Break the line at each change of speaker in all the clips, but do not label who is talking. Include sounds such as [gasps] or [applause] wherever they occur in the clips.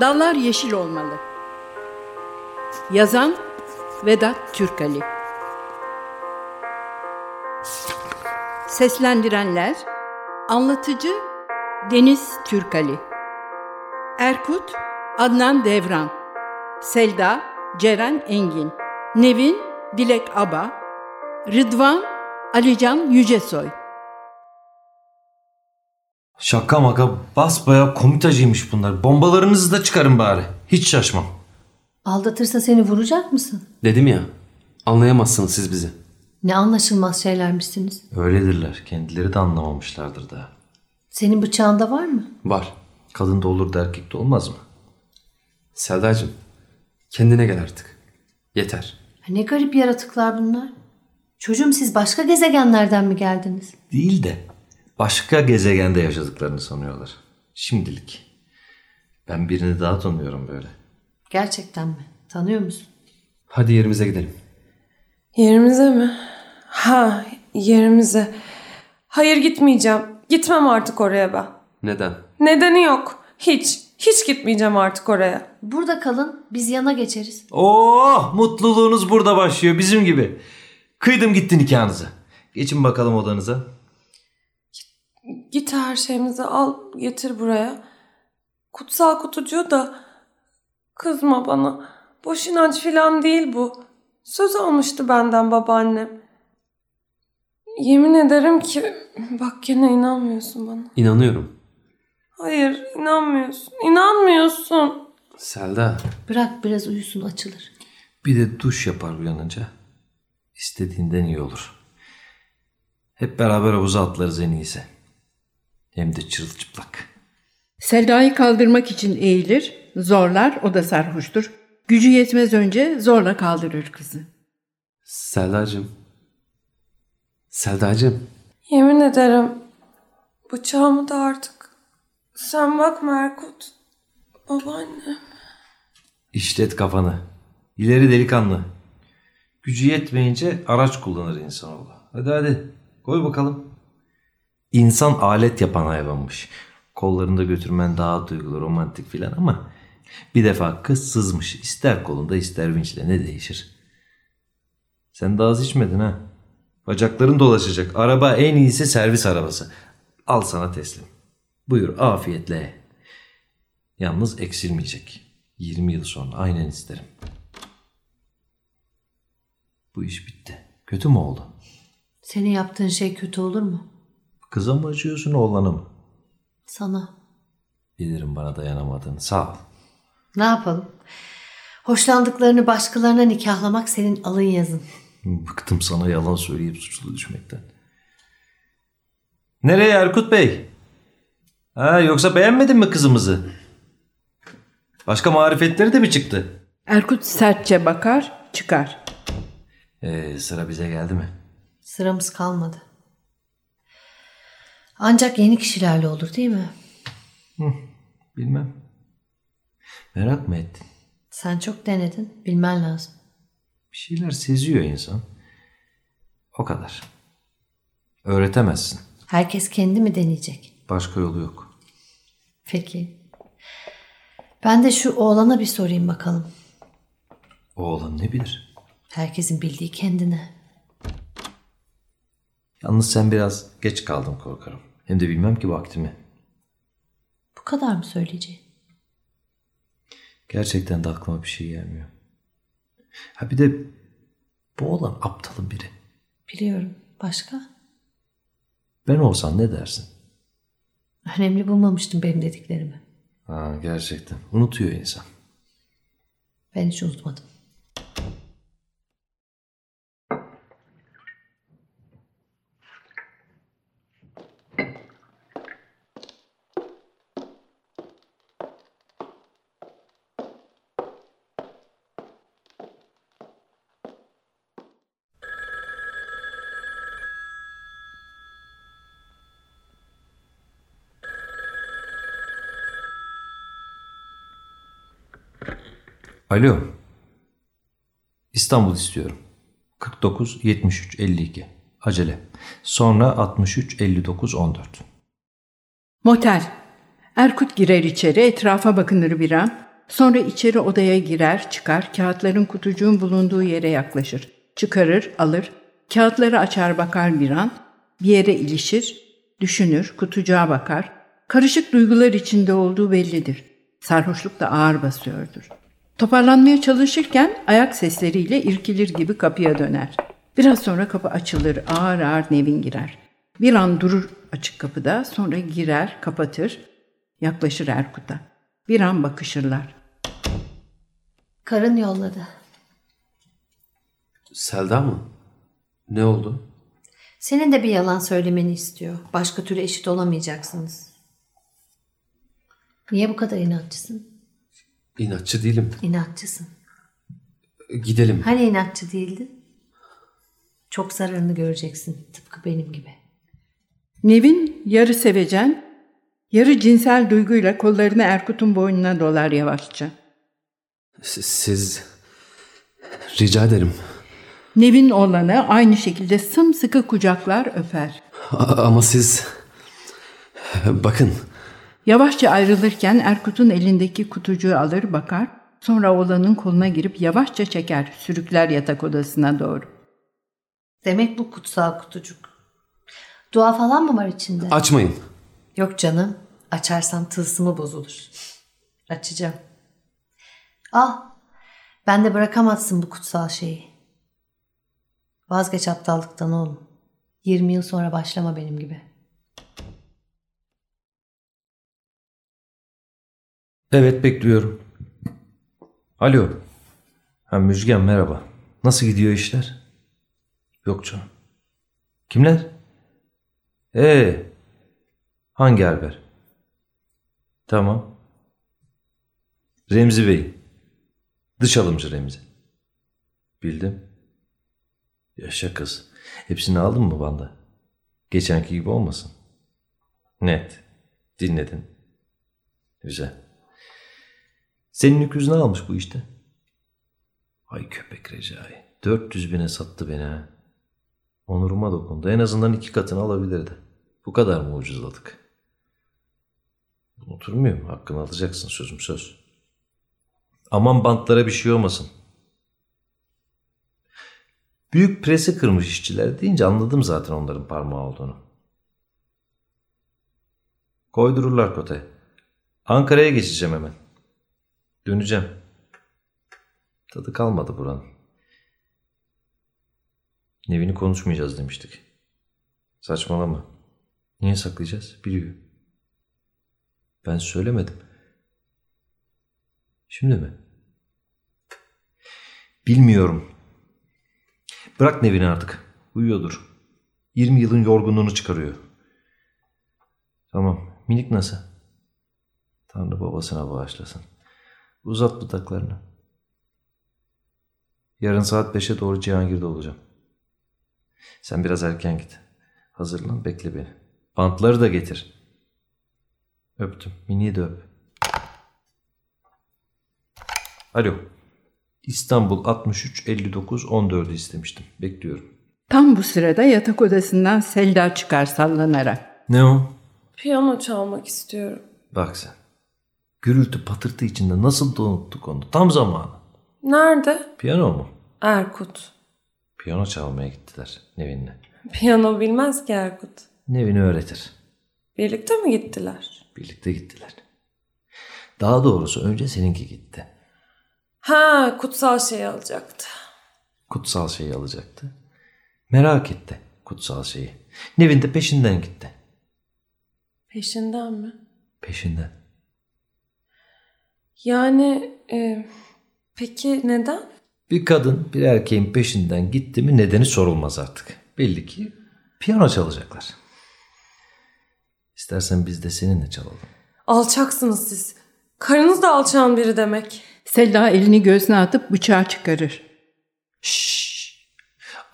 Dallar yeşil olmalı. Yazan Vedat Türkali. Seslendirenler Anlatıcı Deniz Türkali. Erkut Adnan Devran. Selda Ceren Engin. Nevin Dilek Aba. Rıdvan Alican Yücesoy.
Şaka maka basbaya komitacıymış bunlar. Bombalarınızı da çıkarın bari. Hiç şaşmam.
Aldatırsa seni vuracak mısın?
Dedim ya anlayamazsınız siz bizi.
Ne anlaşılmaz şeylermişsiniz.
Öyledirler. Kendileri de anlamamışlardır daha.
Senin bıçağında var mı?
Var.
Kadın da olur da erkek de olmaz mı?
Selda'cığım kendine gel artık. Yeter.
Ha, Ne garip yaratıklar bunlar. Çocuğum siz başka gezegenlerden mi geldiniz?
Değil de başka gezegende yaşadıklarını sanıyorlar. Şimdilik. Ben birini daha tanıyorum böyle.
Gerçekten mi? Tanıyor musun?
Hadi yerimize gidelim.
Yerimize mi? Ha, yerimize. Hayır gitmeyeceğim. Gitmem artık oraya ben.
Neden?
Nedeni yok. Hiç. Hiç gitmeyeceğim artık oraya.
Burada kalın biz yana geçeriz.
Oh mutluluğunuz burada başlıyor bizim gibi. Kıydım gitti nikahınızı. Geçin bakalım odanıza.
Git her şeyimizi al getir buraya. Kutsal kutucuğu da kızma bana. Boş inanç filan değil bu. Söz almıştı benden babaannem. Yemin ederim ki bak gene inanmıyorsun bana.
İnanıyorum.
Hayır inanmıyorsun. İnanmıyorsun.
Selda
Bırak biraz uyusun açılır.
Bir de duş yapar uyanınca. İstediğinden iyi olur. Hep beraber havuza atlarız en iyisi. Hem de çırılçıplak.
Selda'yı kaldırmak için eğilir, zorlar, o da sarhoştur. Gücü yetmez önce zorla kaldırır kızı.
Selda'cığım. Selda'cığım.
Yemin ederim bıçağımı da artık sen bakma Erkut. Babaannem.
İşlet kafanı. İleri delikanlı. Gücü yetmeyince araç kullanır insanoğlu. Hadi hadi koy bakalım. İnsan alet yapan hayvanmış. Kollarında götürmen daha duygulu romantik filan ama bir defa kız sızmış. İster kolunda ister vinçle ne değişir. Sen daha az içmedin ha. Bacakların dolaşacak. Araba en iyisi servis arabası. Al sana teslim. Buyur afiyetle. Yalnız eksilmeyecek. 20 yıl sonra aynen isterim. Bu iş bitti. Kötü mü oldu?
Senin yaptığın şey kötü olur mu?
Kıza mı acıyorsun oğlana mı?
Sana.
Bilirim bana dayanamadığını. Sağ ol.
Ne yapalım? Hoşlandıklarını başkalarına nikahlamak senin alın yazın.
Bıktım sana yalan söyleyip suçlu düşmekten. Nereye Erkut Bey? Ha, yoksa beğenmedin mi kızımızı? Başka marifetleri de mi çıktı?
Erkut sertçe bakar, çıkar.
Ee, sıra bize geldi mi?
Sıramız kalmadı. Ancak yeni kişilerle olur değil mi?
Bilmem. Merak mı ettin?
Sen çok denedin, bilmen lazım.
Bir şeyler seziyor insan. O kadar. Öğretemezsin.
Herkes kendi mi deneyecek?
Başka yolu yok.
Peki. Ben de şu oğlana bir sorayım bakalım.
Oğlan ne bilir?
Herkesin bildiği kendine.
Yalnız sen biraz geç kaldın korkarım. Hem de bilmem ki vaktimi.
Bu kadar mı söyleyeceğin?
Gerçekten de aklıma bir şey gelmiyor. Ha bir de bu oğlan aptalın biri.
Biliyorum. Başka?
Ben olsan ne dersin?
Önemli bulmamıştım benim dediklerimi.
Ha gerçekten. Unutuyor insan.
Ben hiç unutmadım.
Alo. İstanbul istiyorum. 49 73 52. Acele. Sonra 63 59 14.
Motel. Erkut girer içeri, etrafa bakınır bir an. Sonra içeri odaya girer, çıkar, kağıtların kutucuğun bulunduğu yere yaklaşır. Çıkarır, alır, kağıtları açar bakar bir an, bir yere ilişir, düşünür, kutucuğa bakar. Karışık duygular içinde olduğu bellidir. Sarhoşluk da ağır basıyordur. Toparlanmaya çalışırken ayak sesleriyle irkilir gibi kapıya döner. Biraz sonra kapı açılır, ağır ağır Nevin girer. Bir an durur açık kapıda, sonra girer, kapatır, yaklaşır Erkut'a. Bir an bakışırlar.
Karın yolladı.
Selda mı? Ne oldu?
Senin de bir yalan söylemeni istiyor. Başka türlü eşit olamayacaksınız. Niye bu kadar inatçısın?
İnatçı değilim.
İnatçısın.
Gidelim.
Hani inatçı değildin? Çok zararını göreceksin. Tıpkı benim gibi.
Nevin yarı sevecen, yarı cinsel duyguyla kollarını Erkut'un boynuna dolar yavaşça.
Siz, siz... Rica ederim.
Nevin olanı aynı şekilde sımsıkı kucaklar öper.
A- ama siz... Bakın.
Yavaşça ayrılırken Erkut'un elindeki kutucuğu alır bakar, sonra oğlanın koluna girip yavaşça çeker, sürükler yatak odasına doğru.
Demek bu kutsal kutucuk. Dua falan mı var içinde?
Açmayın.
Yok canım. Açarsam tılsımı bozulur. Açacağım. Al. Ben de bırakamazsın bu kutsal şeyi. Vazgeç aptallıktan oğlum. 20 yıl sonra başlama benim gibi.
Evet bekliyorum. Alo. Ha Müjgan merhaba. Nasıl gidiyor işler? Yok canım. Kimler? Ee. Hangi Erber? Tamam. Remzi Bey. Dış alımcı Remzi. Bildim. Yaşa kız. Hepsini aldın mı banda? Geçenki gibi olmasın. Net. Dinledin. Güzel. Senin öküzünü almış bu işte. Ay köpek Recai. 400 bine sattı beni ha. Onuruma dokundu. En azından iki katını alabilirdi. Bu kadar mı ucuzladık? Oturmuyor mu? Hakkını alacaksın sözüm söz. Aman bantlara bir şey olmasın. Büyük presi kırmış işçiler deyince anladım zaten onların parmağı olduğunu. Koydururlar kotaya. Ankara'ya geçeceğim hemen. Döneceğim. Tadı kalmadı buranın. Nevini konuşmayacağız demiştik. Saçmalama. Niye saklayacağız? Biliyor. Ben söylemedim. Şimdi mi? Bilmiyorum. Bırak Nevin'i artık. Uyuyordur. 20 yılın yorgunluğunu çıkarıyor. Tamam. Minik nasıl? Tanrı babasına bağışlasın. Uzat bıtaklarını. Yarın saat 5'e doğru Cihangir'de olacağım. Sen biraz erken git. Hazırlan bekle beni. Bantları da getir. Öptüm. Mini'yi de öp. Alo. İstanbul 63 59 14'ü istemiştim. Bekliyorum.
Tam bu sırada yatak odasından Selda çıkar sallanarak.
Ne o?
Piyano çalmak istiyorum.
Bak sen. Gürültü patırtı içinde nasıl da unuttuk onu. Tam zamanı.
Nerede?
Piyano mu?
Erkut.
Piyano çalmaya gittiler Nevin'le.
Piyano bilmez ki Erkut.
Nevin'i öğretir.
Birlikte mi gittiler?
Birlikte gittiler. Daha doğrusu önce seninki gitti.
Ha, kutsal şey alacaktı.
Kutsal şeyi alacaktı. Merak etti kutsal şeyi. Nevin de peşinden gitti.
Peşinden mi?
Peşinden.
Yani e, peki neden?
Bir kadın bir erkeğin peşinden gitti mi nedeni sorulmaz artık. Belli ki piyano çalacaklar. İstersen biz de seninle çalalım.
Alçaksınız siz. Karınız da alçan biri demek.
Selda elini göğsüne atıp bıçağı çıkarır.
Şşş.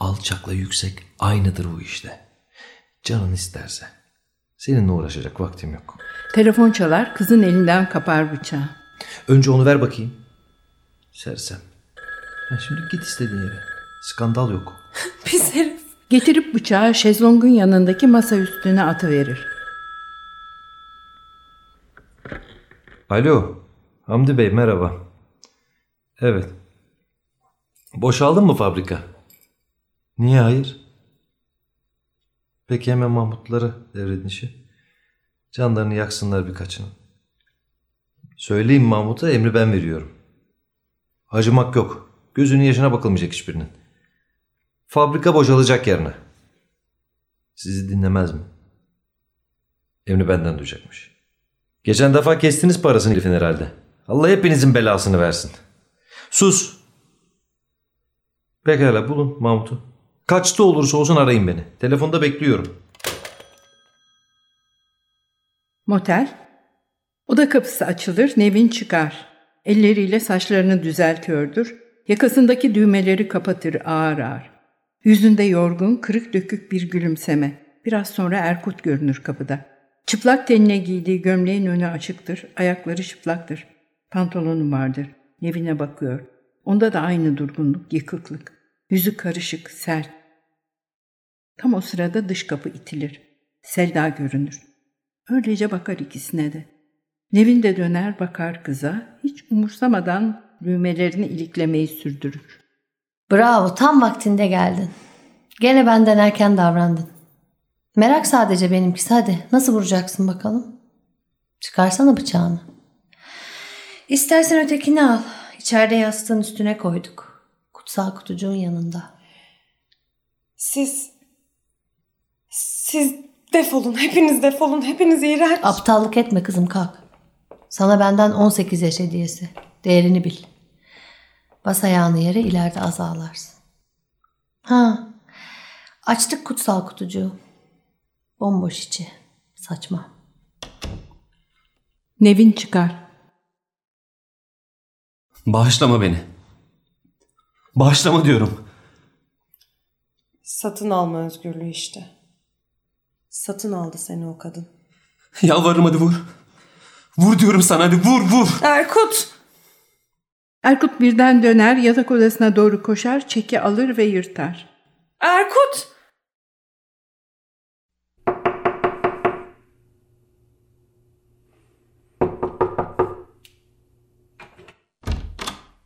Alçakla yüksek aynıdır bu işte. Canın isterse. Seninle uğraşacak vaktim yok.
Telefon çalar, kızın elinden kapar bıçağı.
Önce onu ver bakayım. Sersem. Ha, şimdi git istediğin yere. Skandal yok.
Pis herif.
Getirip bıçağı şezlongun yanındaki masa üstüne atıverir.
Alo. Hamdi Bey merhaba. Evet. Boşaldın mı fabrika? Niye hayır? Peki hemen Mahmutlara devredin işi. Canlarını yaksınlar birkaçını. Söyleyin Mahmut'a emri ben veriyorum. Acımak yok. Gözünün yaşına bakılmayacak hiçbirinin. Fabrika boşalacak yarına. Sizi dinlemez mi? Emri benden duyacakmış. Geçen defa kestiniz parasını herifin herhalde. Allah hepinizin belasını versin. Sus! Pekala bulun Mahmut'u. Kaçta olursa olsun arayın beni. Telefonda bekliyorum.
Motel. Oda kapısı açılır, Nevin çıkar. Elleriyle saçlarını düzeltiyordur. Yakasındaki düğmeleri kapatır ağır ağır. Yüzünde yorgun, kırık dökük bir gülümseme. Biraz sonra Erkut görünür kapıda. Çıplak tenine giydiği gömleğin önü açıktır, ayakları çıplaktır. Pantolonu vardır. Nevin'e bakıyor. Onda da aynı durgunluk, yıkıklık. Yüzü karışık, sert. Tam o sırada dış kapı itilir. Selda görünür. Öylece bakar ikisine de. Nevin de döner bakar kıza, hiç umursamadan düğmelerini iliklemeyi sürdürür.
Bravo, tam vaktinde geldin. Gene benden erken davrandın. Merak sadece benimkisi. Hadi nasıl vuracaksın bakalım? Çıkarsana bıçağını. İstersen ötekini al. İçeride yastığın üstüne koyduk. Kutsal kutucuğun yanında.
Siz... Siz defolun. Hepiniz defolun. Hepiniz iğrenç.
Aptallık etme kızım kalk. Sana benden 18 yaş hediyesi. Değerini bil. Bas ayağını yere ileride az ağlarsın. Ha. Açtık kutsal kutucuğu. Bomboş içi. Saçma.
Nevin çıkar.
Bağışlama beni. Bağışlama diyorum.
Satın alma özgürlüğü işte. Satın aldı seni o kadın.
Yalvarırım hadi vur. Vur diyorum sana hadi vur vur.
Erkut!
Erkut birden döner, yatak odasına doğru koşar, çeki alır ve yırtar.
Erkut!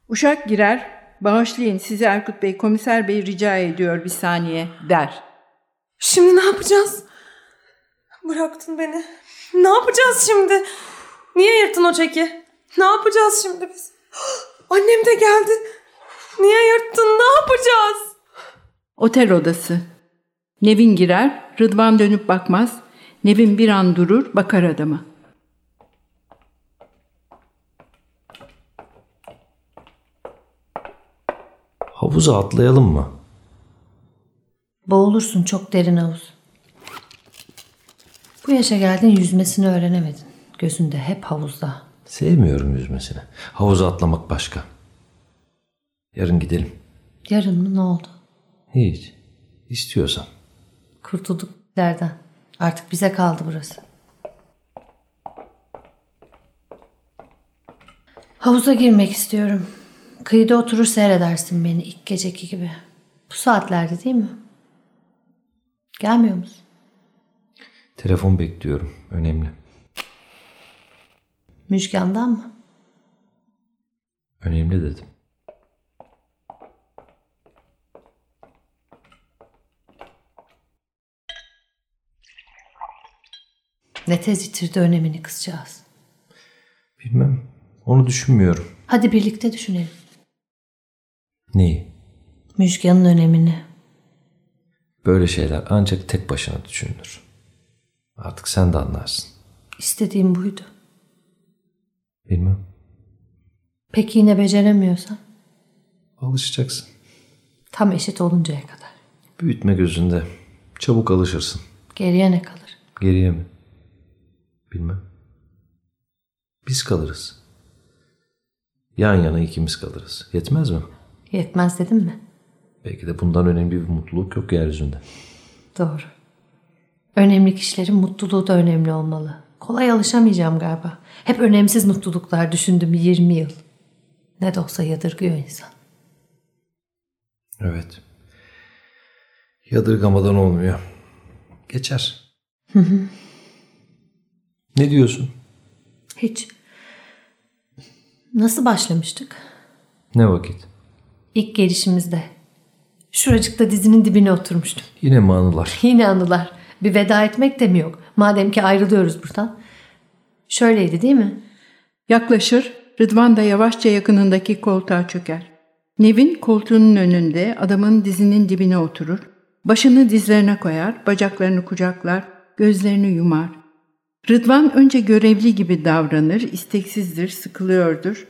Uşak girer, bağışlayın sizi Erkut Bey, komiser bey rica ediyor bir saniye der.
Şimdi ne yapacağız? Bıraktın beni. Ne yapacağız şimdi? Niye yırttın o çeki? Ne yapacağız şimdi biz? [gasps] Annem de geldi. Niye yırttın? Ne yapacağız?
Otel odası. Nevin girer, Rıdvan dönüp bakmaz. Nevin bir an durur, bakar adama.
Havuza atlayalım mı?
Boğulursun çok derin havuz. Bu yaşa geldin yüzmesini öğrenemedin. Gözünde hep havuzda.
Sevmiyorum yüzmesini. Havuza atlamak başka. Yarın gidelim.
Yarın mı ne oldu?
Hiç. İstiyorsan.
Kurtulduk derden. Artık bize kaldı burası. Havuza girmek istiyorum. Kıyıda oturur seyredersin beni ilk geceki gibi. Bu saatlerde değil mi? Gelmiyor musun?
Telefon bekliyorum. Önemli.
Müjgan'dan mı?
Önemli dedim.
Ne tez yitirdi önemini kızcağız.
Bilmem. Onu düşünmüyorum.
Hadi birlikte düşünelim.
Neyi?
Müjgan'ın önemini.
Böyle şeyler ancak tek başına düşünülür. Artık sen de anlarsın.
İstediğim buydu.
Bilmem.
Peki yine beceremiyorsan?
Alışacaksın.
Tam eşit oluncaya kadar.
Büyütme gözünde. Çabuk alışırsın.
Geriye ne kalır?
Geriye mi? Bilmem. Biz kalırız. Yan yana ikimiz kalırız. Yetmez mi?
Yetmez dedim mi?
Belki de bundan önemli bir mutluluk yok yeryüzünde.
Doğru. Önemli kişilerin mutluluğu da önemli olmalı. Kolay alışamayacağım galiba. Hep önemsiz mutluluklar düşündüm 20 yıl. Ne de olsa yadırgıyor insan.
Evet. Yadırgamadan olmuyor. Geçer. ne diyorsun?
Hiç. Nasıl başlamıştık?
Ne vakit?
İlk gelişimizde. Şuracıkta dizinin dibine oturmuştum. [laughs]
Yine mi anılar?
Yine anılar. Bir veda etmek de mi yok? Madem ki ayrılıyoruz buradan. Şöyleydi değil mi?
Yaklaşır, Rıdvan da yavaşça yakınındaki koltuğa çöker. Nevin koltuğunun önünde adamın dizinin dibine oturur. Başını dizlerine koyar, bacaklarını kucaklar, gözlerini yumar. Rıdvan önce görevli gibi davranır, isteksizdir, sıkılıyordur.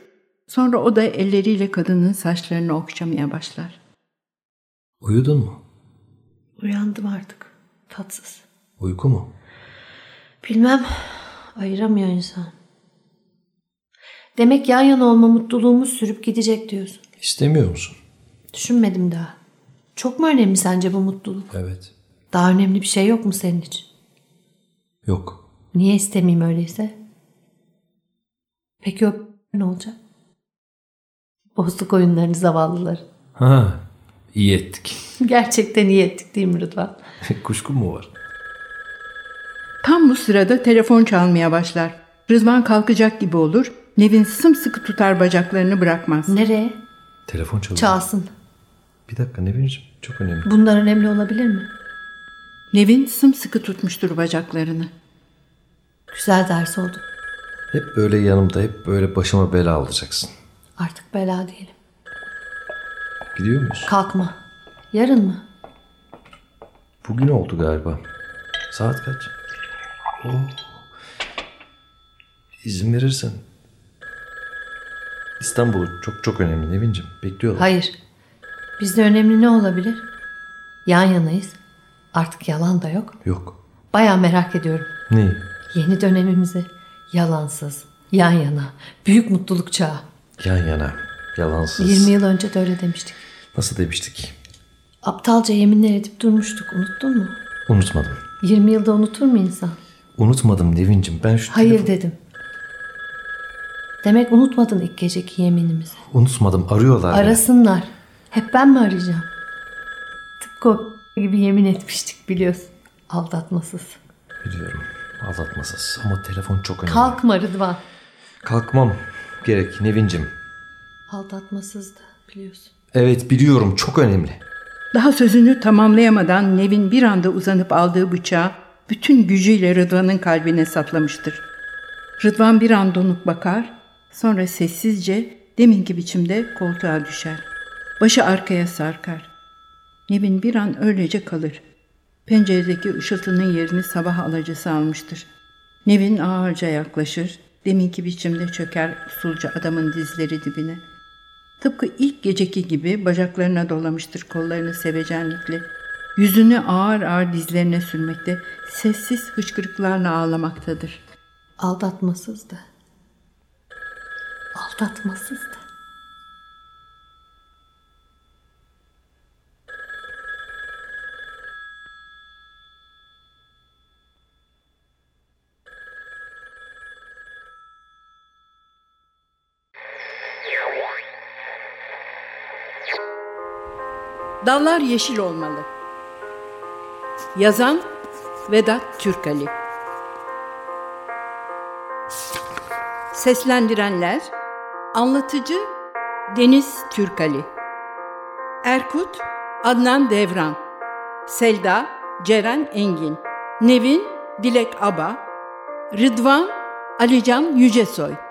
Sonra o da elleriyle kadının saçlarını okşamaya başlar.
Uyudun mu?
Uyandım artık. Tatsız.
Uyku mu?
Bilmem. Ayıramıyor insan. Demek yan yana olma mutluluğumuz sürüp gidecek diyorsun.
İstemiyor musun?
Düşünmedim daha. Çok mu önemli sence bu mutluluk?
Evet.
Daha önemli bir şey yok mu senin için?
Yok.
Niye istemeyeyim öyleyse? Peki o ne olacak? Bozduk oyunlarını zavallıları. [laughs]
Ha, iyi ettik. [laughs]
Gerçekten iyi ettik değil mi Rıdvan?
Kuşkun mu var?
Tam bu sırada telefon çalmaya başlar. Rıdvan kalkacak gibi olur. Nevin sımsıkı tutar bacaklarını bırakmaz.
Nereye?
Telefon çalıyor.
Çalsın.
Bir dakika Nevin'ciğim çok önemli.
Bunlar önemli olabilir mi?
Nevin sımsıkı tutmuştur bacaklarını.
Güzel ders oldu.
Hep böyle yanımda, hep böyle başıma bela alacaksın.
Artık bela diyelim.
Gidiyor muyuz?
Kalkma. Yarın mı?
Bugün oldu galiba. Saat kaç? Oo. İzin verirsen. İstanbul çok çok önemli Nevin'ciğim. Bekliyorlar.
Hayır. Bizde önemli ne olabilir? Yan yanayız. Artık yalan da yok.
Yok.
Baya merak ediyorum.
Neyi?
Yeni dönemimizi yalansız, yan yana, büyük mutluluk çağı.
Yan yana. Yalansız.
20 yıl önce de öyle demiştik.
Nasıl demiştik?
Aptalca yeminler edip durmuştuk. Unuttun mu?
Unutmadım.
20 yılda unutur mu insan?
Unutmadım Nevin'ciğim. Ben şu
Hayır
telefon-
dedim. Demek unutmadın ilk geceki yeminimizi.
Unutmadım. Arıyorlar. beni.
Arasınlar. Hep ben mi arayacağım? Tıpkı o gibi yemin etmiştik biliyorsun. Aldatmasız.
Biliyorum. Aldatmasız. Ama telefon çok önemli.
Kalkma Rıdvan.
Kalkmam. Gerek Nevin'cim.
Aldatmasızdı biliyorsun.
Evet biliyorum çok önemli.
Daha sözünü tamamlayamadan Nevin bir anda uzanıp aldığı bıçağı bütün gücüyle Rıdvan'ın kalbine saplamıştır. Rıdvan bir an donup bakar, sonra sessizce deminki biçimde koltuğa düşer. Başı arkaya sarkar. Nevin bir an öylece kalır. Penceredeki ışıltının yerini sabah alacası almıştır. Nevin ağırca yaklaşır, deminki biçimde çöker usulca adamın dizleri dibine. Tıpkı ilk geceki gibi bacaklarına dolamıştır kollarını sevecenlikle. Yüzünü ağır ağır dizlerine sürmekte, sessiz hıçkırıklarla ağlamaktadır.
Aldatmasızdı. Aldatmasızdı.
Dallar yeşil olmalı. Yazan Vedat Türkali Seslendirenler Anlatıcı Deniz Türkali Erkut Adnan Devran Selda Ceren Engin Nevin Dilek Aba Rıdvan Alican Yücesoy